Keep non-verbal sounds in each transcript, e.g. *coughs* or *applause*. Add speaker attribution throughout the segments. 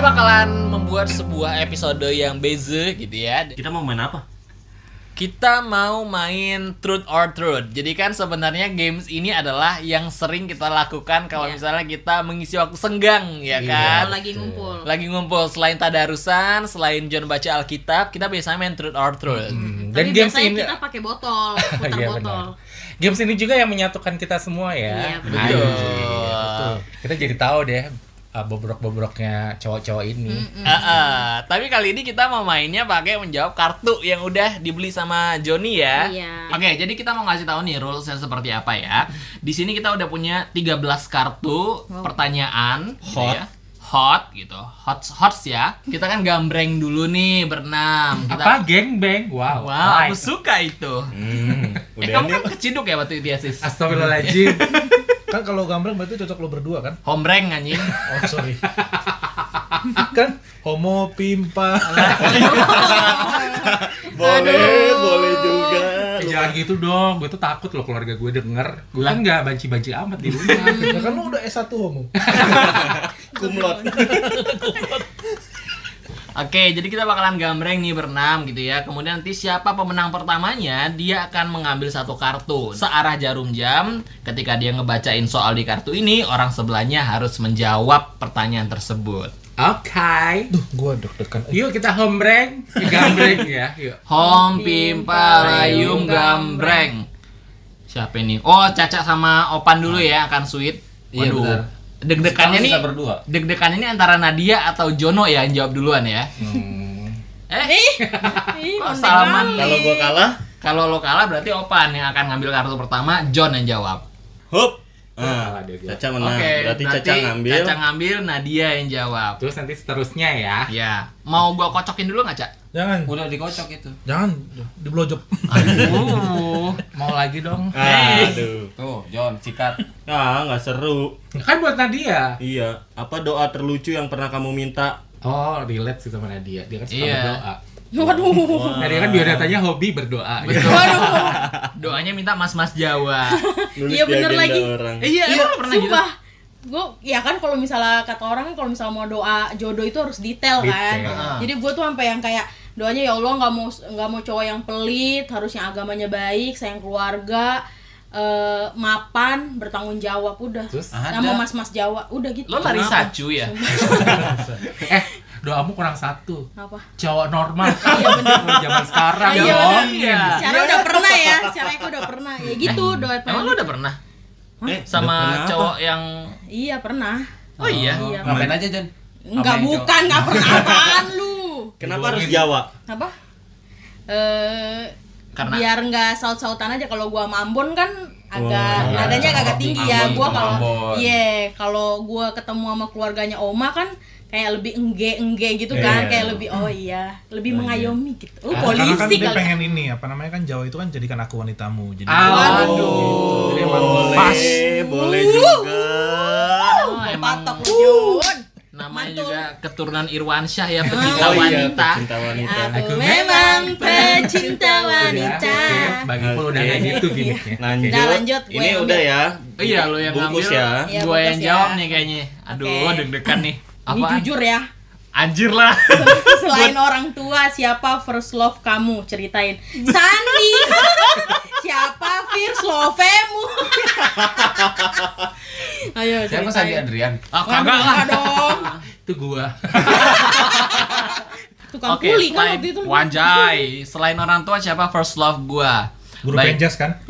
Speaker 1: bakalan membuat sebuah episode yang beze gitu ya.
Speaker 2: Kita mau main apa?
Speaker 1: Kita mau main truth or truth. Jadi kan sebenarnya games ini adalah yang sering kita lakukan kalau
Speaker 3: Iya.
Speaker 1: misalnya kita mengisi waktu senggang ya kan.
Speaker 2: Iya.
Speaker 4: Gitu.
Speaker 3: Kalau lagi ngumpul.
Speaker 1: Lagi ngumpul selain tadarusan, selain John baca Alkitab, kita biasanya main truth or truth.
Speaker 3: Tapi
Speaker 4: Hmm, Dan games
Speaker 3: biasanya
Speaker 4: ini
Speaker 3: kita pakai
Speaker 4: *laughs*
Speaker 3: botol, putar
Speaker 4: Iya,
Speaker 3: botol.
Speaker 4: benar. games ini juga yang menyatukan kita semua ya.
Speaker 3: Iya, betul.
Speaker 4: Anjir, gitu.
Speaker 1: Betul.
Speaker 4: Kita jadi tahu deh uh, bobrok-bobroknya cowok-cowok ini.
Speaker 3: Mm-mm.
Speaker 1: Ah, ah. tapi kali ini kita mau mainnya pakai menjawab kartu yang udah dibeli sama Joni ya.
Speaker 3: Iya.
Speaker 1: Oke, jadi kita mau ngasih tahu nih rulesnya seperti apa ya. Di sini kita udah punya 13 kartu
Speaker 3: Wow.
Speaker 1: pertanyaan gitu
Speaker 4: Hot.
Speaker 1: ya. Hot gitu. Hot hots ya. Kita kan gambreng dulu nih berenam.
Speaker 4: Apa
Speaker 1: Kita
Speaker 4: geng bang? Wow.
Speaker 1: Wow, aku
Speaker 4: nice.
Speaker 1: suka itu.
Speaker 2: Hmm,
Speaker 1: eh,
Speaker 2: udah
Speaker 1: kamu
Speaker 2: nih.
Speaker 1: kan keciduk ya waktu itu ya, Sis?
Speaker 4: Astagfirullahaladzim.
Speaker 5: kan kalau gambreng berarti cocok lo berdua kan
Speaker 1: Hombreng anjing.
Speaker 5: oh sorry kan homo pimpa
Speaker 2: Boleh,
Speaker 3: Aduh.
Speaker 2: boleh juga.
Speaker 4: Eh, Jangan gitu dong, gue tuh takut loh keluarga gue denger Gue kan gak banci-banci amat di rumah
Speaker 5: ya kan lo udah S1 homo
Speaker 2: Kumlot.
Speaker 1: Oke, jadi kita bakalan gambreng nih berenam gitu ya. Kemudian nanti siapa pemenang pertamanya, dia akan mengambil satu kartu searah jarum jam. Ketika dia ngebacain soal di kartu ini, orang sebelahnya harus menjawab pertanyaan tersebut.
Speaker 4: Oke
Speaker 5: duh gua deg-degan Eh,
Speaker 4: Yuk kita hombreng, Eh, gambreng ya Yuk
Speaker 1: Hom pimpa layung gambreng. Siapa ini? Oh, Caca sama Opan dulu ya akan sweet.
Speaker 2: Iya, benar.
Speaker 1: Deg-degannya
Speaker 2: Sekarang
Speaker 1: nih.
Speaker 2: kita berdua.
Speaker 1: Deg-degannya ini antara Nadia atau Jono ya yang jawab duluan ya.
Speaker 2: Hmm.
Speaker 1: *laughs* Eh,
Speaker 3: Ih,
Speaker 1: Kok
Speaker 3: mondek
Speaker 1: salaman?
Speaker 3: banget.
Speaker 2: Kalau gua kalah,
Speaker 1: kalau lo kalah berarti Opan yang akan ngambil kartu pertama, John yang jawab.
Speaker 2: hop.
Speaker 4: Nah,
Speaker 2: Ah,
Speaker 4: dia gua.
Speaker 2: Caca menang. berarti, Caca ngambil. Ah,
Speaker 1: Caca ngambil, Nadia yang jawab.
Speaker 4: Terus nanti seterusnya ya
Speaker 1: Ya, mau gua kocokin dulu nggak, Cak?
Speaker 5: jangan
Speaker 2: Udah dikocok itu.
Speaker 5: jangan diblojok
Speaker 1: Aduh.
Speaker 4: Mau lagi dong
Speaker 2: Aduh.
Speaker 6: Tuh, John, sikat.
Speaker 2: Ah, nggak seru.
Speaker 4: Kan buat Nadia
Speaker 2: Iya. Apa doa terlucu yang pernah kamu minta?
Speaker 4: Oh relate sih sama Nadia, dia kan suka
Speaker 1: Iya.
Speaker 4: berdoa
Speaker 3: Waduh.
Speaker 2: Wah.
Speaker 4: Nadia kan biodatanya hobi berdoa gitu.
Speaker 1: Betul. *laughs* Doanya minta mas-mas
Speaker 2: *laughs*
Speaker 1: Jawa.
Speaker 2: Nulis
Speaker 3: Iya,
Speaker 2: di
Speaker 3: bener
Speaker 2: agenda
Speaker 3: lagi.
Speaker 2: Orang.
Speaker 1: Eh, iya,
Speaker 3: Iya,
Speaker 1: emang lo pernah gitu?
Speaker 3: sumpah. Gue ya kan kalau misalnya kata orang kalau misalnya mau doa jodoh itu harus detail kan.
Speaker 4: Detail.
Speaker 3: Jadi gue tuh sampai yang kayak doanya ya Allah nggak mau nggak mau cowok yang pelit, harusnya agamanya baik, sayang keluarga, eh, mapan, bertanggung jawab udah.
Speaker 4: Terus
Speaker 3: Sama mas-mas Jawa udah gitu.
Speaker 1: Lo lari sacu ya?
Speaker 3: *laughs*
Speaker 4: eh doamu kurang satu
Speaker 3: Apa?
Speaker 4: cowok normal
Speaker 6: Iya,
Speaker 4: Kalau zaman sekarang
Speaker 3: Iya,
Speaker 4: dong
Speaker 1: iya.
Speaker 3: Secara udah pernah ya, secara aku udah pernah. Ya gitu doa
Speaker 1: Emang lo udah pernah
Speaker 2: Eh, udah pernah
Speaker 1: sama
Speaker 2: apa?
Speaker 1: cowok yang
Speaker 3: Iya, pernah.
Speaker 1: Oh iya.
Speaker 3: Iya.
Speaker 6: Ngapain aja, John?
Speaker 3: Enggak
Speaker 6: Apa yang
Speaker 3: bukan, enggak pernah apaan lu.
Speaker 2: Kenapa harus Jawa?
Speaker 3: Apa? Eh
Speaker 1: Karena-
Speaker 3: biar nggak saut-sautan aja kalau gua sama Ambon kan
Speaker 2: Wah,
Speaker 3: agak nadanya kagak tinggi ya
Speaker 6: Ambon
Speaker 3: gua
Speaker 6: sama
Speaker 3: kalau
Speaker 6: Ambon.
Speaker 3: iya kalau gua ketemu sama keluarganya Oma kan kayak lebih engge engge gitu kan
Speaker 2: Iya.
Speaker 3: kayak lebih oh iya lebih mengayomi gitu oh,
Speaker 5: karena kan
Speaker 3: polisi
Speaker 5: dia
Speaker 3: kali
Speaker 5: pengen ini apa namanya kan Jawa itu kan jadikan aku wanitamu jadi
Speaker 4: Ah, oh. Aduh,
Speaker 2: boleh,
Speaker 4: pas.
Speaker 2: boleh juga.
Speaker 1: Oh, emang
Speaker 3: patok lu Jun.
Speaker 1: namanya
Speaker 3: Mantul.
Speaker 1: juga keturunan Irwansyah ya pecinta
Speaker 2: Oh iya,
Speaker 1: wanita.
Speaker 2: pecinta wanita.
Speaker 3: aku
Speaker 4: Aku
Speaker 3: memang pecinta wanita
Speaker 4: Oke, Bang Ipul iya. udah kayak gitu gimmicknya.
Speaker 6: Iya.
Speaker 2: Lanjut.
Speaker 3: Udah, lanjut. Gue
Speaker 2: Ini
Speaker 3: yang
Speaker 2: udah ya.
Speaker 1: Oh iya lo yang
Speaker 2: Bungkus
Speaker 1: ngambil.
Speaker 2: ya.
Speaker 3: Iya,
Speaker 1: Gua yang
Speaker 3: bungkus ya.
Speaker 1: jawab nih kayaknya. Aduh,
Speaker 3: Oke.
Speaker 1: deg-degan nih.
Speaker 3: ini
Speaker 1: Apaan?
Speaker 3: jujur ya
Speaker 1: Anjir lah.
Speaker 3: Selain orang tua, siapa first love kamu? Ceritain. Sandi. *laughs* siapa first lovemu? Ayo
Speaker 6: Siapa
Speaker 3: ceritain.
Speaker 6: Sandi Adrian?
Speaker 1: Ah,
Speaker 3: Waduh,
Speaker 1: kagak lah.
Speaker 3: enggak dong.
Speaker 4: Itu gua.
Speaker 3: Tukang
Speaker 1: Oke,
Speaker 3: kuli kan
Speaker 1: selain
Speaker 3: waktu itu.
Speaker 1: Wanjai, selain orang tua siapa first love gua?
Speaker 5: guru
Speaker 1: Baik.
Speaker 5: penjas kan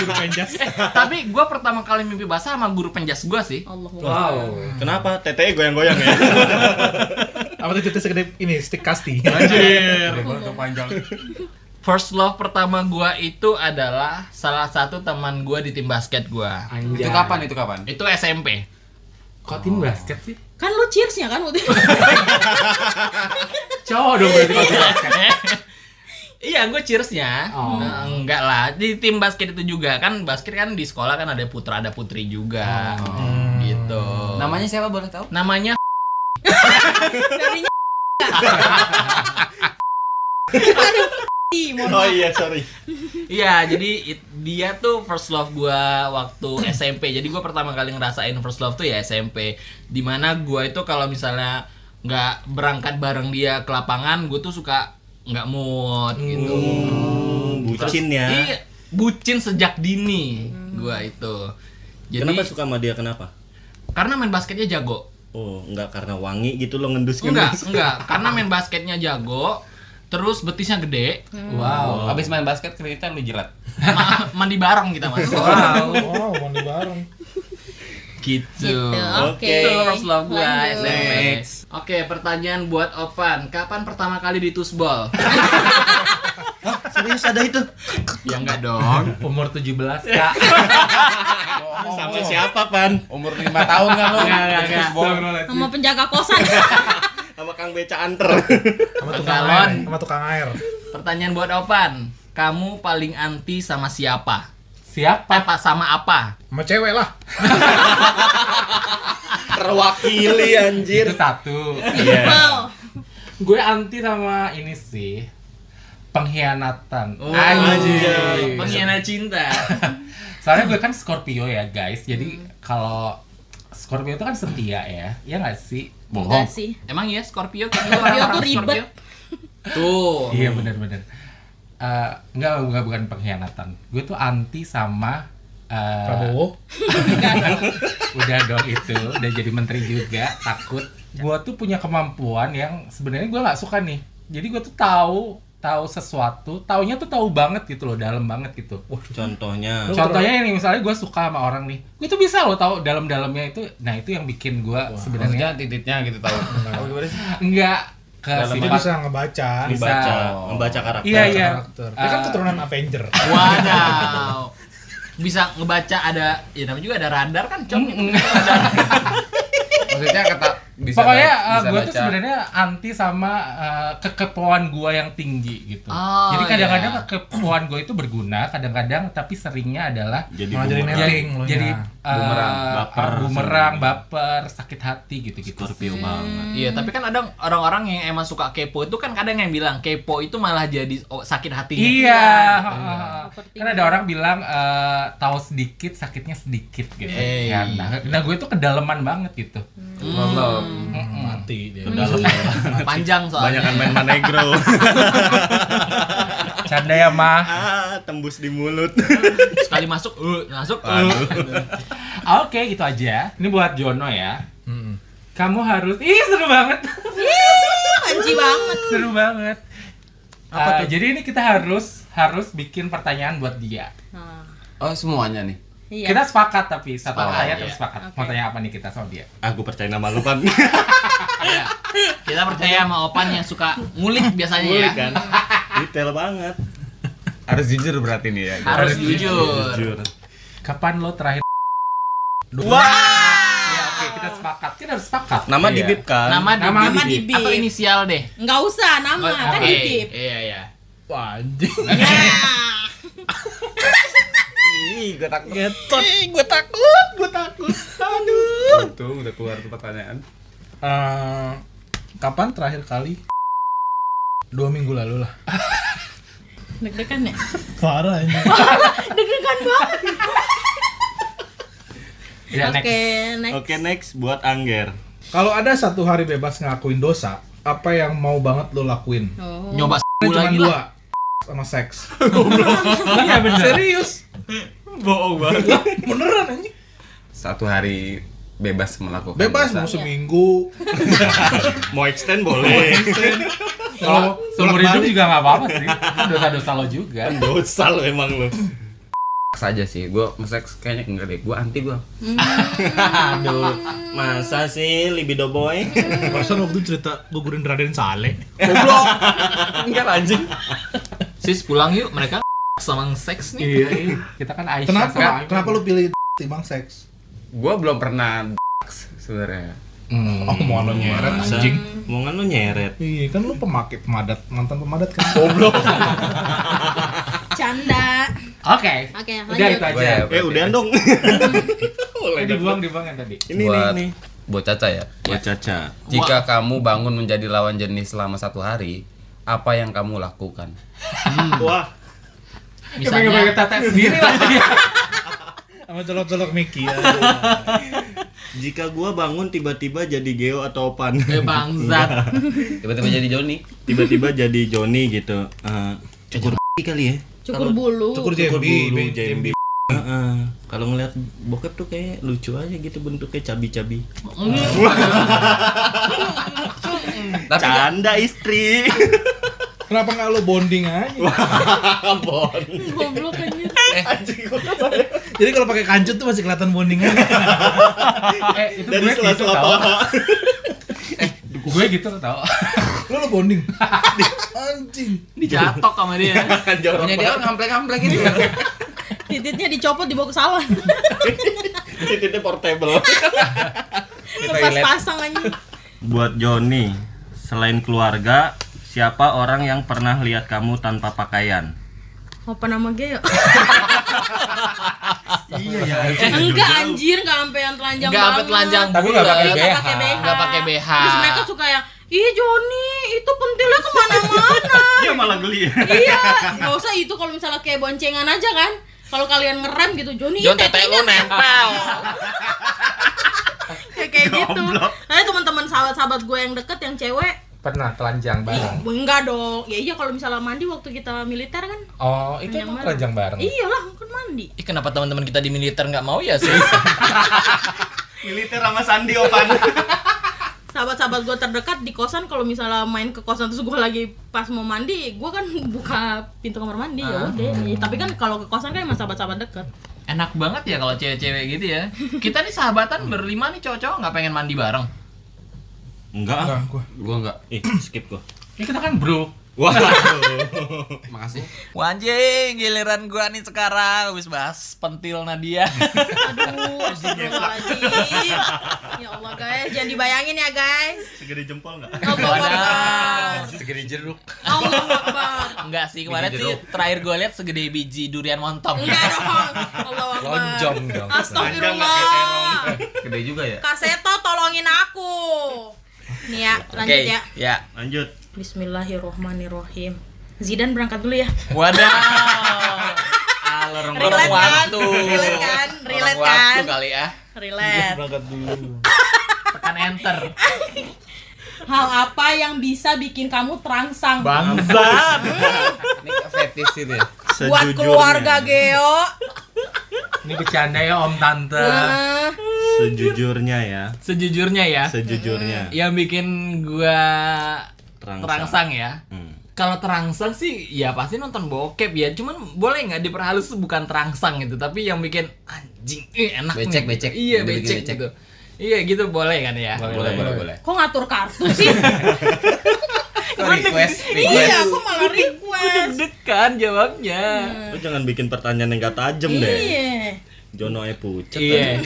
Speaker 5: guru penjas
Speaker 1: *laughs* Tapi gua pertama kali mimpi basah sama guru penjas gua sih.
Speaker 3: Allah.
Speaker 4: Wow.
Speaker 2: Kenapa? Tete goyang-goyang ya.
Speaker 5: apa tuh titik segede ini stick kasti
Speaker 6: Udah, gua tuh panjang.
Speaker 1: First love pertama gua itu adalah salah satu teman gua di tim basket gua.
Speaker 4: Anjay.
Speaker 6: Itu kapan? Itu kapan?
Speaker 1: Itu SMP.
Speaker 4: Kok tim basket sih?
Speaker 3: Kan lu cheersnya kan waktu itu.
Speaker 4: Cowok dong berarti kalau tim basket.
Speaker 1: *laughs* Iya, gue cheersnya.
Speaker 4: Oh.
Speaker 1: Nah, enggak lah, di tim basket itu juga kan basket kan di sekolah kan ada putra ada putri juga, gitu.
Speaker 6: Namanya siapa boleh tahu?
Speaker 1: namanya
Speaker 3: Darinya *laughs* Aduh, mohon
Speaker 2: Oh
Speaker 3: maaf.
Speaker 2: iya, sorry.
Speaker 1: Iya, jadi it- dia tuh first love gua waktu SMP. Jadi gua pertama kali ngerasain first love tuh ya SMP. Dimana gua itu kalau misalnya nggak berangkat bareng dia ke lapangan gue tuh suka nggak mood gitu
Speaker 2: Hmm, bucin ya.
Speaker 1: Iya, bucin sejak dini gua itu jadi
Speaker 2: Kenapa suka sama dia kenapa?
Speaker 1: karena main basketnya jago
Speaker 2: Oh, enggak karena wangi gitu lo ngendus
Speaker 1: enggak
Speaker 2: ngendus.
Speaker 1: enggak karena main basketnya jago terus betisnya gede
Speaker 4: Hmm.
Speaker 6: Wow, abis main basket kreditnya lu jilat.
Speaker 1: ma- mandi bareng kita mas
Speaker 5: Wow, mandi Oh, bareng.
Speaker 1: gitu
Speaker 3: Gitu. Oke.
Speaker 1: Itu first love gua,
Speaker 3: Lanjut.
Speaker 1: SMP.
Speaker 6: Next.
Speaker 1: Oke, pertanyaan buat Ovan. Kapan pertama kali *laughs* ditusbol?
Speaker 2: Serius ada itu?
Speaker 1: ya enggak dong.
Speaker 4: Umur 17 kak.
Speaker 2: Sama siapa, Pan?
Speaker 6: Umur 5 tahun kan lu?
Speaker 1: Enggak, enggak, enggak.
Speaker 4: Astagfirullahaladzim.
Speaker 3: Sama penjaga
Speaker 1: *laughs*
Speaker 3: kosan.
Speaker 2: Sama Kang Beca Anter. *laughs*
Speaker 5: Sama
Speaker 1: Bang
Speaker 5: tukang
Speaker 1: Galon.
Speaker 5: air. Sama tukang air.
Speaker 1: Pertanyaan buat Ovan. Kamu paling anti sama siapa?
Speaker 4: Siapa?
Speaker 1: Apa sama apa?
Speaker 5: Sama cewek lah.
Speaker 2: Terwakili
Speaker 4: Itu
Speaker 2: anjir.
Speaker 4: satu.
Speaker 6: Iya.
Speaker 1: Iya.
Speaker 3: Wow.
Speaker 4: Gue anti sama ini sih pengkhianatan.
Speaker 1: Oh,
Speaker 4: Anjay.
Speaker 1: Pengkhianat cinta.
Speaker 4: Soalnya gue kan Scorpio ya guys. Jadi kalau Scorpio itu kan setia ya. Ya nggak sih?
Speaker 3: Enggak sih.
Speaker 1: Emang ya Scorpio
Speaker 3: Scorpio tuh ribet.
Speaker 1: Tuh.
Speaker 4: Iya benar-benar. Eh, enggak, enggak, bukan pengkhianatan. Gue tuh anti sama eh, *laughs*
Speaker 5: Prabowo.
Speaker 4: udah dong itu, udah jadi menteri juga, takut. Gue tuh punya kemampuan yang sebenarnya gue nggak suka nih. Jadi gue tuh tahu tahu sesuatu, taunya tuh tahu banget gitu loh, dalam banget gitu.
Speaker 2: Contohnya.
Speaker 5: Lu
Speaker 4: Contohnya ini misalnya gue suka sama orang nih, gue tuh bisa loh tahu dalam-dalamnya itu. Nah itu yang bikin gue sebenarnya
Speaker 6: Sebenarnya titiknya gitu
Speaker 4: *laughs*
Speaker 6: tahu.
Speaker 4: enggak ke
Speaker 6: Dalam
Speaker 5: Dia
Speaker 4: sifat-
Speaker 5: bisa ngebaca.
Speaker 2: Membaca,
Speaker 6: Bisa.
Speaker 2: membaca karakter.
Speaker 4: Iya iya.
Speaker 5: Karakter. Dia kan
Speaker 4: Eh,
Speaker 5: keturunan Avenger.
Speaker 1: Wadaw. Bisa ngebaca ada, ya namanya juga ada radar kan, Cong.
Speaker 6: *laughs* Maksudnya kata bisa
Speaker 4: Pokoknya
Speaker 6: baca- bisa
Speaker 4: gue tuh
Speaker 6: baca.
Speaker 4: sebenarnya anti sama eh, kekepoan gue yang tinggi gitu.
Speaker 1: Oh,
Speaker 4: Jadi kadang-kadang
Speaker 1: iya.
Speaker 4: kekepoan gue itu berguna, kadang-kadang tapi seringnya adalah
Speaker 2: Jadi
Speaker 5: Malah jadi
Speaker 2: bumerang.
Speaker 5: Netting
Speaker 4: jadi
Speaker 5: lo
Speaker 4: jadi
Speaker 5: nya.
Speaker 4: eh,
Speaker 2: Bumerang, baper.
Speaker 4: bumerang, baper, sakit hati gitu-gitu.
Speaker 2: Scorpio banget.
Speaker 1: Iya, tapi kan ada orang-orang yang emang suka kepo itu kan kadang yang bilang kepo itu malah jadi oh, sakit hatinya.
Speaker 4: Iya. heeh.
Speaker 3: Overthinking.
Speaker 4: Kan ada orang bilang eh, tahu sedikit sakitnya sedikit gitu.
Speaker 1: Hey.
Speaker 4: kan. Nah, nah gue tuh kedalaman banget gitu.
Speaker 6: Belum.
Speaker 5: Mati dia.
Speaker 1: Panjang soalnya.
Speaker 2: Banyakan kan
Speaker 4: kan.
Speaker 2: main Manegro.
Speaker 4: Canda ya mah.
Speaker 2: *laughs* ah, tembus di mulut. *laughs*
Speaker 1: Sekali masuk, uh, masuk. uh.
Speaker 4: Oke, gitu aja. Ini buat Jono ya. Kamu harus Ih, seru banget.
Speaker 3: Panci banget.
Speaker 4: seru banget. Apa tuh? Jadi ini kita harus harus bikin pertanyaan buat dia.
Speaker 3: Nah,
Speaker 6: Oh semuanya nih.
Speaker 3: iya.
Speaker 4: Kita sepakat tapi satu
Speaker 6: Sepakat,
Speaker 4: pertanyaan
Speaker 1: iya.
Speaker 4: terus sepakat.
Speaker 3: Oke.
Speaker 4: Mau tanya apa nih kita sama dia?
Speaker 2: Aku percaya nama lu kan. *laughs*
Speaker 1: Iya. Kita percaya sama Opan yang suka ngulik biasanya ya.
Speaker 2: Mulik kan. Detail banget.
Speaker 6: Harus jujur berarti nih ya.
Speaker 1: Harus
Speaker 4: Harus
Speaker 1: jujur.
Speaker 2: Jujur.
Speaker 4: Kapan lo terakhir?
Speaker 2: Wah.
Speaker 3: Iya.
Speaker 4: Ya oke kita sepakat. Kita harus sepakat.
Speaker 2: Nama
Speaker 4: Iya.
Speaker 2: dibip kan?
Speaker 1: Nama di
Speaker 4: Nama
Speaker 1: nama
Speaker 3: di bib.
Speaker 1: Atau inisial deh.
Speaker 3: Enggak usah nama, kan
Speaker 1: Oh, Oke.
Speaker 3: dipip.
Speaker 1: Iya, iya.
Speaker 5: Wah, anjing.
Speaker 3: Nah,
Speaker 6: Ih, gue takut. Untung udah keluar tuh pertanyaan.
Speaker 5: Eh, kapan terakhir kali? Dua minggu lalu lah.
Speaker 3: deg-degan ya?
Speaker 5: Parah ini.
Speaker 3: Deg-degan banget.
Speaker 4: Ya, next.
Speaker 3: Oke, next.
Speaker 2: Oke next buat Angger.
Speaker 5: Kalau ada satu hari bebas ngakuin dosa, apa yang mau banget lo lakuin?
Speaker 3: Oh.
Speaker 1: Nyoba s***
Speaker 5: Cuma
Speaker 1: lagi lah.
Speaker 5: dua sama seks.
Speaker 4: Iya benar.
Speaker 5: Serius?
Speaker 2: Bohong banget.
Speaker 5: Beneran anjing?
Speaker 6: Satu hari bebas melakukan.
Speaker 5: Bebas
Speaker 6: dosa.
Speaker 5: mau seminggu.
Speaker 2: Mau extend *laughs* boleh.
Speaker 4: Kalau seumur hidup juga nggak apa-apa sih. Itu Dosa-dosa lo juga.
Speaker 2: kan dosa lo emang lo.
Speaker 6: saja sih. Gue seks kayaknya enggak deh. Gue anti gue.
Speaker 2: Aduh. Masa sih libido boy?
Speaker 5: Pasal waktu cerita gugurin Raden Saleh.
Speaker 6: Enggak anjing.
Speaker 1: Sis pulang yuk, mereka sama seks nih.
Speaker 4: Iya, iya. Kita kan Aisyah.
Speaker 5: Kenapa?
Speaker 4: sama-
Speaker 5: Kenapa lo pilih timbang seks?
Speaker 6: Gue belum pernah sebenarnya.
Speaker 4: Hmm.
Speaker 5: Oh, mau lo nyeret
Speaker 2: Masa?
Speaker 5: anjing.
Speaker 2: Omongan lo nyeret.
Speaker 5: Iya, kan lo pemakai pemadat, mantan pemadat kan. Goblok.
Speaker 3: Canda.
Speaker 4: Oke.
Speaker 3: Oke,
Speaker 4: Udah
Speaker 3: lanjut.
Speaker 4: itu aja.
Speaker 2: Eh
Speaker 6: ya.
Speaker 2: udahan
Speaker 6: *laughs*
Speaker 2: dong.
Speaker 4: Eh, dibuang dibuang yang
Speaker 5: *laughs*
Speaker 4: tadi.
Speaker 2: Ini nih
Speaker 6: buat,
Speaker 2: ini.
Speaker 6: buat Caca ya.
Speaker 2: Buat Caca.
Speaker 6: Jika kamu bangun menjadi lawan jenis selama satu hari, apa yang kamu lakukan? Hmm.
Speaker 2: Wah.
Speaker 4: Misalnya, pengen
Speaker 1: Misalnya
Speaker 4: sendiri lagi.
Speaker 5: Sama colok-colok Mickey ya.
Speaker 2: Jika gua bangun tiba-tiba jadi Geo atau Pan.
Speaker 1: Eh bangsat.
Speaker 6: Tiba-tiba jadi Joni.
Speaker 2: *laughs* tiba-tiba jadi Joni gitu. Eh, cukur kali ya.
Speaker 3: Cukur bulu.
Speaker 5: Cukur
Speaker 2: Cukur
Speaker 5: jambi,
Speaker 2: bulu,
Speaker 5: be-
Speaker 2: jambi. Heeh. Kalau ngeliat bokep tuh kayak lucu aja gitu bentuknya cabi-cabi. *laughs*
Speaker 6: Tapi kan-
Speaker 2: Canda *laughs* istri.
Speaker 5: Kenapa nggak lo bonding aja?
Speaker 3: Goblok anjir.
Speaker 5: Jadi kalau pakai kancut tuh masih kelihatan bonding aja.
Speaker 4: eh itu gue gitu tau
Speaker 2: *laughs*
Speaker 4: eh gue gitu tau
Speaker 5: Lo lo bonding. *laughs* Anjing.
Speaker 1: Dicatok sama dia.
Speaker 6: punya dia kan ngampleng-ngampleng gitu.
Speaker 3: Titiknya dicopot dibawa ke
Speaker 1: *laughs*
Speaker 3: salon.
Speaker 2: Titiknya portable.
Speaker 3: Lepas pasang anjir.
Speaker 2: Buat Joni, selain keluarga, siapa orang yang pernah lihat kamu tanpa pakaian?
Speaker 3: Apa nama
Speaker 1: *laughs*
Speaker 3: ya? geo?
Speaker 5: Iya ya.
Speaker 3: Enggak anjir, enggak sampai yang telanjang
Speaker 1: Enggak sampai
Speaker 3: banget.
Speaker 1: telanjang
Speaker 4: tapi nggak pakai
Speaker 3: Enggak
Speaker 4: BH
Speaker 3: pakai BH.
Speaker 1: Nggak pakai BH.
Speaker 3: Terus mereka suka yang, ih Joni, itu pentilnya kemana-mana.
Speaker 1: *laughs*
Speaker 2: Dia malah geli.
Speaker 3: iya, nggak usah itu kalau misalnya kayak boncengan aja kan. Kalau kalian ngerem gitu, Joni,
Speaker 1: Jon
Speaker 3: ih,
Speaker 1: tete
Speaker 3: tetenya
Speaker 1: lu nempel.
Speaker 3: *laughs* Ya, kayak gitu. Nah, teman-teman sahabat-sahabat gue yang deket yang cewek,
Speaker 4: pernah telanjang bareng
Speaker 3: enggak dong. Ya iya kalau misalnya mandi waktu kita militer kan.
Speaker 4: oh itu emang telanjang bareng Iya.
Speaker 3: Iyalah, kan mandi.
Speaker 1: Ih, kenapa teman-teman kita di militer nggak mau ya sih?
Speaker 2: *laughs* Militer sama Sandi Opan.
Speaker 3: Sahabat-sahabat gue terdekat di kosan kalau misalnya main ke kosan terus gue lagi pas mau mandi, gue kan buka pintu kamar mandi ya udah. Ya, Tapi kan kalau ke kosan kan emang sahabat-sahabat dekat.
Speaker 1: *laughs* Enak banget ya kalau cewek-cewek gitu ya. Kita nih sahabatan berlima nih cowok-cowok nggak pengen mandi bareng.
Speaker 2: Enggak. ah.
Speaker 5: Enggak, gua.
Speaker 6: Gua enggak.
Speaker 2: Ih, skip gua.
Speaker 4: ini kita kan bro
Speaker 2: Wah.
Speaker 6: Makasih.
Speaker 1: Wanjing, giliran gua nih sekarang habis bahas pentil *laughs* Nadia.
Speaker 3: Aduh, astagfirullahaladzim. Ya Allah guys, jangan dibayangin ya guys.
Speaker 2: Segede jempol enggak?
Speaker 3: Allah Akbar.
Speaker 4: segede jeruk
Speaker 3: Allah Akbar.
Speaker 1: Enggak sih, kemarin
Speaker 6: Biji
Speaker 1: sih
Speaker 6: jeruk.
Speaker 1: terakhir gue lihat segede biji durian montong.
Speaker 3: Enggak dong. Allah Akbar.
Speaker 4: lonjong dong
Speaker 3: Astagfirullah.
Speaker 6: Gede juga ya.
Speaker 3: Kak Seto tolongin aku. Nih ya, lanjut
Speaker 1: Oke,
Speaker 3: ya.
Speaker 1: ya.
Speaker 2: Lanjut.
Speaker 3: Bismillahirrohmanirrohim. Zidane berangkat dulu ya.
Speaker 1: *laughs* Wadah. Alur orang
Speaker 3: Relate
Speaker 1: Ah,
Speaker 3: kan?
Speaker 1: waktu.
Speaker 3: Relate kan?
Speaker 1: Orang
Speaker 3: Relate
Speaker 1: waktu
Speaker 3: kan?
Speaker 1: kali ya.
Speaker 3: Relate.
Speaker 5: Berangkat dulu.
Speaker 1: Tekan enter.
Speaker 3: Hal apa yang bisa bikin kamu terangsang?
Speaker 5: Bangsat.
Speaker 6: Ini kayak fetish gitu ya.
Speaker 3: Buat keluarga gitu. Geo.
Speaker 4: ini bercanda ya om tante
Speaker 3: Eh,
Speaker 2: Sejujurnya ya.
Speaker 1: Sejujurnya ya,
Speaker 2: Sejujurnya.
Speaker 3: Hmm.
Speaker 1: yang bikin gua
Speaker 2: Terangsang.
Speaker 1: terangsang ya.
Speaker 2: Hmm.
Speaker 1: Kalau terangsang sih ya pasti nonton bokep ya. Cuman boleh nggak diperhalus bukan terangsang gitu, tapi yang bikin anjing eh, enak
Speaker 6: Becek,
Speaker 1: nih.
Speaker 6: becek.
Speaker 1: Iya,
Speaker 6: Yang bikin
Speaker 1: becek,
Speaker 6: becek.
Speaker 1: gitu. Iya, gitu boleh kan ya?
Speaker 6: Boleh, boleh, boleh.
Speaker 3: Kok ngatur kartu sih?
Speaker 6: Kok request, request.
Speaker 3: iya, aku malah request.
Speaker 1: Deg-degan Kan jawabnya.
Speaker 2: Lu jangan bikin pertanyaan yang gak tajem deh.
Speaker 3: Iya.
Speaker 2: Jono e pucet.
Speaker 1: Iya.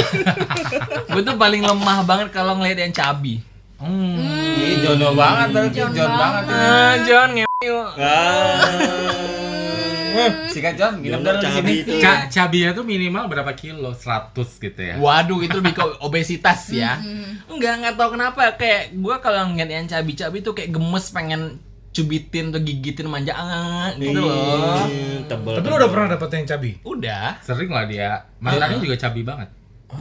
Speaker 1: *laughs* gue tuh paling lemah banget kalau ngeliat yang cabi. Hmm.
Speaker 6: Ih, jono banget, baru John, banget.
Speaker 1: Ah, John nge yuk.
Speaker 6: Sikat John, nginep dulu di sini.
Speaker 5: Iya.
Speaker 2: itu.
Speaker 4: Ca cabinya tuh minimal berapa kilo? 100 gitu ya.
Speaker 1: *laughs* Waduh, itu lebih ke obesitas ya. Enggak, nggak tahu kenapa kayak gua kalau ngeliat yang cabi-cabi tuh kayak gemes pengen cubitin atau gigitin manja ah, gitu loh.
Speaker 2: Hmm, Tebel.
Speaker 5: Tapi lo udah pernah dapet yang cabi?
Speaker 1: Udah. *laughs*
Speaker 4: Sering lah dia. Mantannya juga cabi banget.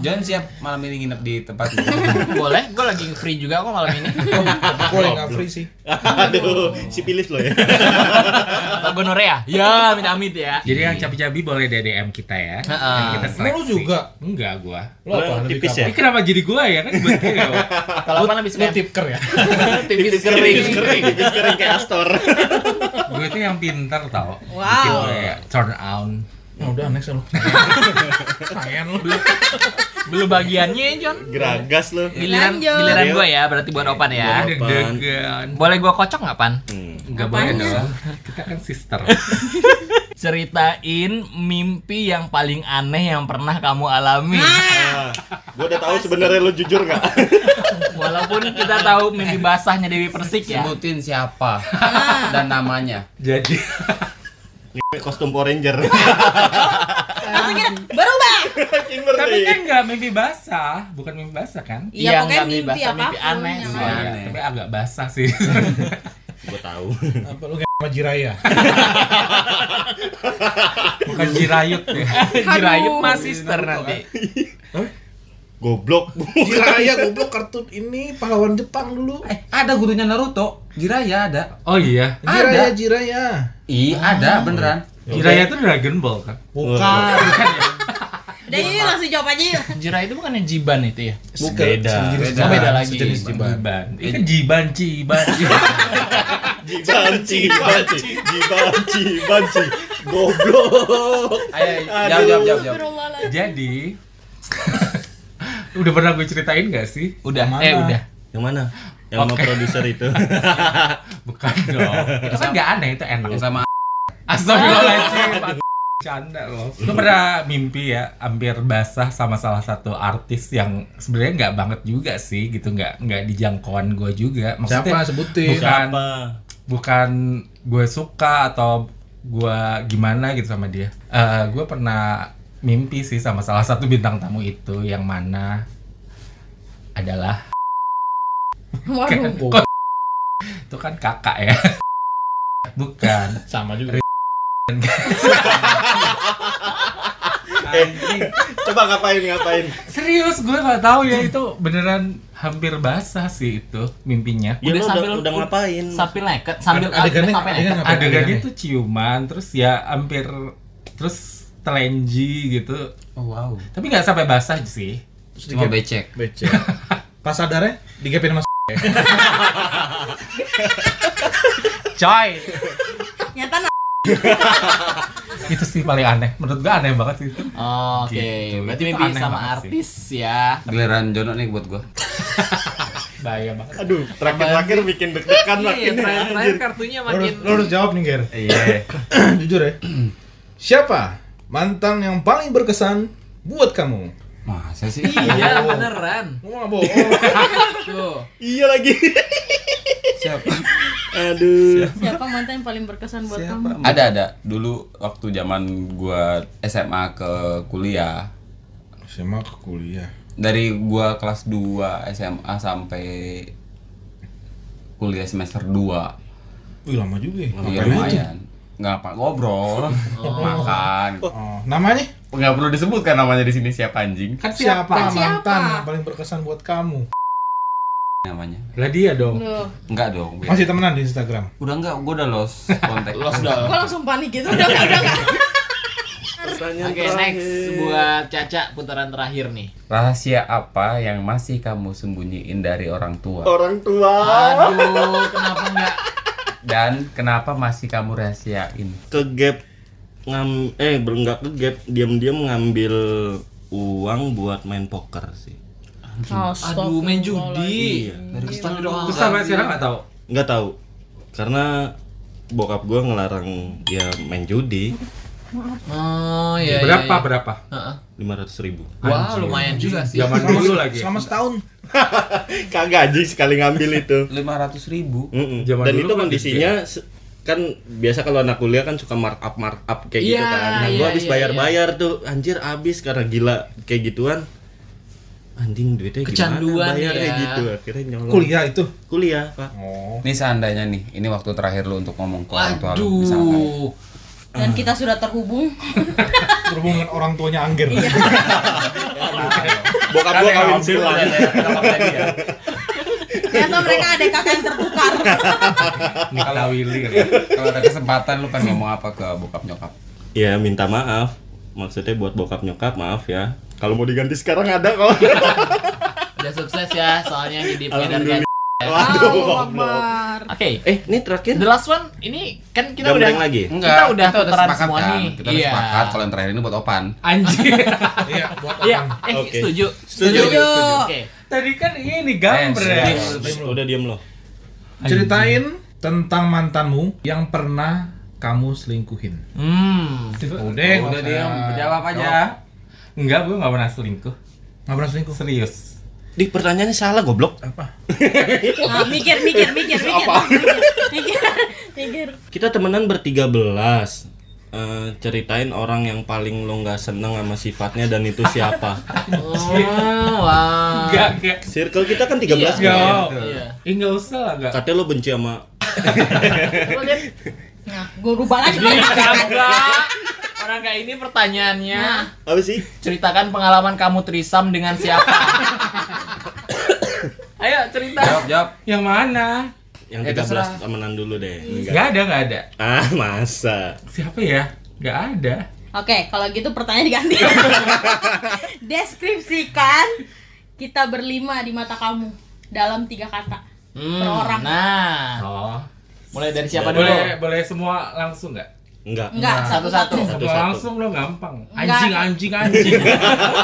Speaker 6: John siap malam ini nginep di tempat ini.
Speaker 1: Boleh, gua lagi free juga kok malam ini.
Speaker 5: Gue yang nggak free sih.
Speaker 2: *laughs* Aduh, sipilis lo ya.
Speaker 1: Atau gonorrea? Ya, amit-amit ya.
Speaker 4: Jadi yang cabi-cabi boleh deh DM kita ya.
Speaker 1: Heeh.
Speaker 4: Yang kita seleksi.
Speaker 5: Iya. Lu juga?
Speaker 4: Enggak gua.
Speaker 5: Lo apa? Lebih
Speaker 2: tipis
Speaker 5: ke
Speaker 2: ya?
Speaker 5: apa?
Speaker 4: Ini kenapa jadi gua ya kan buat Geo.
Speaker 1: Kalau apa lebih
Speaker 5: Lo
Speaker 1: suka
Speaker 5: tipker ya?
Speaker 1: *laughs* tipis kering.
Speaker 2: kering, tipis kering kayak Astor. *laughs*
Speaker 4: Gua itu yang pinter tau.
Speaker 3: Wow.
Speaker 4: Bikin gue ya, turn on.
Speaker 5: *laughs* Nah, udah next lo. *laughs* Sayang lo.
Speaker 1: Belum bagiannya, John.
Speaker 2: Geragas lo.
Speaker 1: Giliran
Speaker 3: Lanjut.
Speaker 1: giliran gua ya, berarti buat Opan ya.
Speaker 2: Apaan?
Speaker 4: Deg-degan.
Speaker 1: Boleh gua kocok nggak, Pan?
Speaker 2: Hmm.
Speaker 4: Enggak boleh
Speaker 3: Apanya?
Speaker 4: dong. Kita kan sister.
Speaker 1: Ceritain mimpi yang paling aneh yang pernah kamu alami.
Speaker 3: Ah,
Speaker 2: Nah, gua udah tahu sebenarnya lo jujur nggak? *laughs*
Speaker 1: Walaupun kita tahu mimpi basahnya Dewi Persik ya.
Speaker 6: Eh. Sebutin siapa
Speaker 3: Ah.
Speaker 6: dan namanya.
Speaker 4: *laughs* jadi
Speaker 2: Kostum Power Ranger. *laughs*
Speaker 3: Langsung kita berubah.
Speaker 4: tapi kan
Speaker 2: Kimberly.
Speaker 4: enggak mimpi basah, bukan mimpi basah kan?
Speaker 1: Yang
Speaker 3: Iya, pokoknya
Speaker 1: nggak
Speaker 3: mimpi,
Speaker 1: dibahas,
Speaker 3: apa?
Speaker 1: mimpi aneh sih.
Speaker 6: Iya.
Speaker 4: Iya, tapi agak basah sih.
Speaker 2: Gua tahu.
Speaker 5: Apa lo kayak sama *laughs* Jiraya?
Speaker 4: *laughs* bukan jirayut ya.
Speaker 1: Jirayut mas sister nanti.
Speaker 7: Goblok.
Speaker 5: Jiraiya goblok kartun ini pahlawan Jepang dulu.
Speaker 6: Eh, ada gurunya Naruto, Jiraiya ada.
Speaker 4: Oh iya.
Speaker 5: Jiraiya, Jiraiya.
Speaker 3: Iya.
Speaker 6: Ih, ada beneran.
Speaker 4: Jiraiya itu Dragon Ball kan?
Speaker 5: Bukan.
Speaker 3: Udah yuk langsung jawab aja yuk.
Speaker 8: Jira itu bukannya jiban itu ya?
Speaker 7: Beda.
Speaker 5: Sejenis
Speaker 8: Oh, beda
Speaker 5: Jiban.
Speaker 8: lagi.
Speaker 5: Sejenis Jiban.
Speaker 4: Jiban. Ini kan Jiban Ciban.
Speaker 7: Jibanci, banci, jibanci, banci. Goblok.
Speaker 6: Ayo, jawab jawab jawab jawab.
Speaker 3: Astagfirullahaladzim.
Speaker 4: *laughs* *laughs* Jadi udah pernah gue ceritain gak sih?
Speaker 8: Udah, eh udah.
Speaker 2: Yang mana? Yang sama
Speaker 4: Oke.
Speaker 2: produser
Speaker 7: *laughs*
Speaker 2: itu.
Speaker 4: Bukan dong. itu kan gak aneh, itu enak.
Speaker 6: Yang sama
Speaker 4: Astagfirullahaladzim. *laughs* Canda loh. Lu pernah mimpi ya hampir basah sama salah satu artis yang sebenarnya nggak banget juga sih gitu nggak nggak di jangkauan gue juga.
Speaker 5: Siapa
Speaker 4: Maksudnya
Speaker 5: sebutin?
Speaker 4: Bukan.
Speaker 2: Siapa?
Speaker 4: bukan gue suka atau gue gimana gitu sama dia. Eh gue pernah mimpi sih sama salah satu bintang tamu itu yang mana adalah
Speaker 3: Waduh.
Speaker 4: itu kan kakak ya. *laughs* Bukan.
Speaker 8: Sama juga.
Speaker 7: Eh, Coba ngapain ngapain?
Speaker 4: Serius gue nggak tahu ya itu beneran hampir basah sih itu mimpinya.
Speaker 1: Udah
Speaker 2: Ya lu udah,
Speaker 1: sambil-
Speaker 2: udah ngapain?
Speaker 1: Sambil neket, sambil
Speaker 5: Adegannya
Speaker 1: sampai neket.
Speaker 5: adegan ngapain?
Speaker 4: Adegan
Speaker 5: adegannya?
Speaker 4: itu ciuman terus ya hampir terus telenji gitu.
Speaker 5: Oh wow.
Speaker 4: Tapi nggak sampai basah sih.
Speaker 6: cuma becek.
Speaker 5: Becek. Pas sadarnya digepin sama
Speaker 8: Coy.
Speaker 3: Nyata nak.
Speaker 4: *laughs* Itu sih paling aneh. Menurut gue aneh banget sih itu.
Speaker 1: Oh, Oke,
Speaker 4: Gitu.
Speaker 1: berarti
Speaker 4: Itu
Speaker 1: mimpi
Speaker 4: aneh
Speaker 1: sama
Speaker 4: banget sih.
Speaker 1: artis ya.
Speaker 6: Giliran Jono nih buat gua.
Speaker 4: Bahaya banget.
Speaker 7: Aduh, terakhir-terakhir bikin
Speaker 2: Kan
Speaker 7: deg-degan makin
Speaker 1: Iya,
Speaker 7: nih,
Speaker 1: terakhir, terakhir
Speaker 7: anjir.
Speaker 1: kartunya
Speaker 5: Lo harus,
Speaker 1: makin
Speaker 5: lo harus jawab nih Ger
Speaker 4: Iya.
Speaker 5: *coughs* Jujur ya Siapa mantan yang paling berkesan buat kamu?
Speaker 6: Masa sih?
Speaker 5: *laughs*
Speaker 1: Iya
Speaker 4: *laughs*
Speaker 1: beneran.
Speaker 5: Ngomong nggak bohong
Speaker 1: Tuh.
Speaker 7: Iya lagi.
Speaker 6: Siapa?
Speaker 7: Aduh.
Speaker 3: Siapa mantan yang paling berkesan buat kamu?
Speaker 6: Ada ada. Dulu waktu zaman gua SMA ke kuliah,
Speaker 5: SMA ke kuliah
Speaker 6: dari gua kelas 2 SMA sampai kuliah semester 2.
Speaker 5: Wih lama juga ya
Speaker 6: Iya
Speaker 5: Ngapain aja?
Speaker 6: lumayan. Nggak apa ngobrol, makan.
Speaker 5: Oh, namanya?
Speaker 6: Nggak perlu disebutkan namanya di sini siapa anjing
Speaker 4: Kan
Speaker 5: Siapa,
Speaker 4: siapa?
Speaker 5: mantan
Speaker 3: Siapa?
Speaker 5: yang paling berkesan buat kamu?
Speaker 6: namanya.
Speaker 4: Lah dia dong.
Speaker 3: Loh,
Speaker 6: Enggak dong. Bea.
Speaker 5: Masih temenan di Instagram?
Speaker 6: Udah enggak, gua udah lost kontak.
Speaker 1: Los dong.
Speaker 3: gua langsung panik gitu. Udah enggak, udah enggak.
Speaker 7: Pertanyaan
Speaker 1: Oke, next buat Caca putaran terakhir nih.
Speaker 6: Rahasia apa yang masih kamu sembunyiin dari orang tua?
Speaker 7: Orang tua.
Speaker 1: Aduh, kenapa enggak?
Speaker 6: Dan kenapa masih kamu rahasiain?
Speaker 2: Ke gap ngam eh belum nggak ke gap diam-diam ngambil uang buat main poker sih.
Speaker 1: Aduh, main judi.
Speaker 6: Dari kecil doang.
Speaker 4: Terus sampai sekarang nggak tahu.
Speaker 2: Nggak tahu. Karena bokap gua ngelarang ya main judi
Speaker 1: Oh, iya. iya, iya.
Speaker 4: Berapa berapa?
Speaker 1: Heeh.
Speaker 2: 500 ribu.
Speaker 1: Wah, lumayan juga sih.
Speaker 4: Zaman dulu lagi.
Speaker 5: Selama setahun
Speaker 7: Kagak anjing sekali ngambil itu.
Speaker 6: 500 ribu.
Speaker 2: Mm-mm.
Speaker 4: Zaman
Speaker 2: Dan
Speaker 4: dulu
Speaker 2: itu
Speaker 4: kan
Speaker 2: kondisinya se- kan biasa kalau anak kuliah kan suka markup markup kayak gitu
Speaker 1: Iya,
Speaker 2: kan. Nah,
Speaker 1: iya,
Speaker 2: gua habis
Speaker 1: iya,
Speaker 2: bayar-bayar tuh anjir habis karena gila kayak gituan. Anjing duitnya
Speaker 1: Kecanduan
Speaker 2: gimana bayar
Speaker 1: ya.
Speaker 2: kayak gitu akhirnya nyolong.
Speaker 5: kuliah itu
Speaker 2: Kuliah, Pak.
Speaker 5: Oh
Speaker 6: Ini seandainya nih, ini waktu terakhir lu untuk ngomong ke orang tua lu misalkan.
Speaker 1: Waduh.
Speaker 3: Dan kita sudah terhubung.
Speaker 5: Berhubungan dengan orang tuanya Angger
Speaker 4: Iya.
Speaker 2: Bokap
Speaker 4: Eh,
Speaker 2: gua kawin silang.
Speaker 4: ya?
Speaker 3: Ternyata mereka ada kakak yang tertukar.
Speaker 4: Nikita Willy. ya.
Speaker 6: Kalau ada kesempatan lu pengen ngomong apa ke bokap nyokap?
Speaker 2: Ya minta maaf. Maksudnya buat bokap nyokap maaf ya. Kalau mau diganti sekarang ada kok.
Speaker 1: Udah sukses ya, soalnya jadi pengedar
Speaker 2: Alhamdulillah.
Speaker 1: ganja.
Speaker 2: Waduh,
Speaker 3: Allah
Speaker 2: goblok.
Speaker 3: Akbar.
Speaker 1: Oke.
Speaker 2: Eh, ini terakhir.
Speaker 1: The last one ini kan kita
Speaker 2: Gambreng
Speaker 1: udah
Speaker 2: lagi.
Speaker 1: Kita udah tukeran
Speaker 6: sepakat
Speaker 1: semua
Speaker 6: kan?
Speaker 1: nih.
Speaker 6: Kita udah
Speaker 1: Iya.
Speaker 6: sepakat kalau yang terakhir ini buat Opan.
Speaker 4: Anjir.
Speaker 5: Iya buat
Speaker 1: Iya,
Speaker 5: orang
Speaker 1: eh
Speaker 2: Oke.
Speaker 1: setuju.
Speaker 3: Setuju.
Speaker 1: Oke.
Speaker 4: Tadi kan ini gambreng. Iya.
Speaker 2: Shh, Udah diem loh.
Speaker 5: Eh, Ceritain tentang mantanmu
Speaker 4: Ah,
Speaker 5: yang pernah kamu selingkuhin
Speaker 1: Hmm.
Speaker 5: Udah
Speaker 6: Udah diam, jawab aja.
Speaker 4: Enggak, gue nggak pernah selingkuh.
Speaker 5: Gak pernah selingkuh
Speaker 4: Serius.
Speaker 2: Di pertanyaannya salah goblok.
Speaker 3: Nah, mikir, mikir, mikir, mikir. Mikir, mikir.
Speaker 2: Kita temenan bertiga belas. Eh, ceritain orang yang paling lo nggak seneng sama sifatnya dan itu siapa?
Speaker 1: Oh, wow.
Speaker 4: Enggak, enggak.
Speaker 2: *laughs* Circle kita kan 13 belas
Speaker 4: Enggak mau.
Speaker 1: Iya.
Speaker 4: Ih, enggak usah lah, enggak.
Speaker 2: Katanya lo benci sama
Speaker 1: *laughs*
Speaker 3: Nah, gue rubah lagi.
Speaker 1: Enggak. Rangga ini pertanyaannya
Speaker 7: Apa sih?
Speaker 1: ceritakan pengalaman kamu trisam dengan siapa? *coughs* Ayo cerita.
Speaker 6: Jawab, jawab.
Speaker 4: Yang mana?
Speaker 7: Yang
Speaker 6: Ya,
Speaker 7: 13 temenan dulu deh.
Speaker 6: Iya.
Speaker 7: Enggak.
Speaker 4: Gak ada, gak ada.
Speaker 7: Ah, masa.
Speaker 4: Siapa ya? Gak ada.
Speaker 3: Oke, kalau gitu pertanyaan diganti. Deskripsikan kita berlima di mata kamu dalam tiga kata.
Speaker 1: Hmm,
Speaker 3: Per orang.
Speaker 1: nah,
Speaker 4: Oh.
Speaker 1: mulai dari siapa dulu?
Speaker 4: Boleh boleh semua langsung nggak?
Speaker 7: Enggak.
Speaker 3: Enggak,
Speaker 1: nah, Satu-satu.
Speaker 3: satu-satu.
Speaker 4: Semua
Speaker 7: Satu-satu.
Speaker 4: langsung lo gampang.
Speaker 3: Nggak.
Speaker 4: Anjing, anjing, anjing.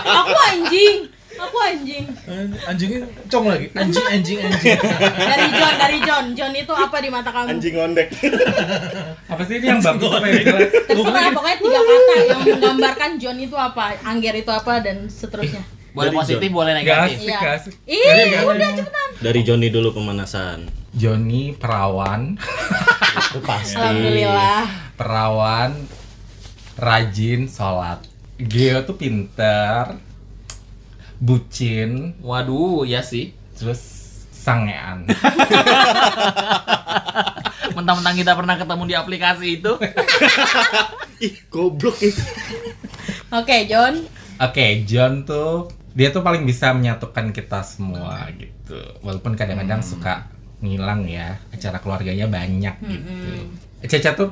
Speaker 3: Aku anjing. Aku anjing.
Speaker 5: Anjingnya cong lagi. Anjing, anjing, anjing.
Speaker 3: Dari John, dari John. John itu apa di mata kamu?
Speaker 7: Anjing ngondek.
Speaker 4: Apa sih ini yang bagus apa yang jelek?
Speaker 3: Terserah pokoknya tiga kata yang menggambarkan John itu apa, Angger itu apa dan seterusnya.
Speaker 1: Boleh
Speaker 7: Dari
Speaker 1: positif, boleh
Speaker 4: Gak
Speaker 1: negatif.
Speaker 3: Iya.
Speaker 4: asik, gak asik.
Speaker 3: Ih, udah cepetan.
Speaker 7: Dari Joni dulu pemanasan.
Speaker 4: Joni perawan,
Speaker 7: Itu pasti.
Speaker 3: Alhamdulillah.
Speaker 1: Iya.
Speaker 4: perawan, rajin, sholat. Geo tuh pinter, bucin,
Speaker 1: Waduh, ya sih.
Speaker 4: terus
Speaker 3: *laughs*
Speaker 4: sangean.
Speaker 1: Mentang-mentang kita pernah ketemu di aplikasi itu.
Speaker 7: Ih, goblok
Speaker 2: eh.
Speaker 7: nih.
Speaker 3: Oke, John.
Speaker 4: Oke, John tuh dia tuh paling bisa menyatukan kita semua gitu. Walaupun
Speaker 3: Hmm.
Speaker 4: kadang-kadang suka ngilang ya, acara keluarganya banyak
Speaker 1: Hmm.
Speaker 4: gitu. Caca tuh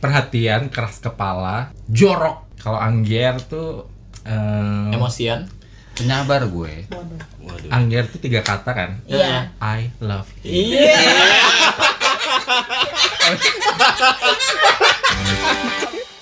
Speaker 4: perhatian, keras kepala, jorok. Kalau Angger tuh eh,
Speaker 1: Emosian.
Speaker 6: Penyabar gue.
Speaker 7: Waduh.
Speaker 4: Angger tuh tiga kata kan.
Speaker 1: Ya.
Speaker 3: Iya.
Speaker 4: I love you.
Speaker 1: Iya.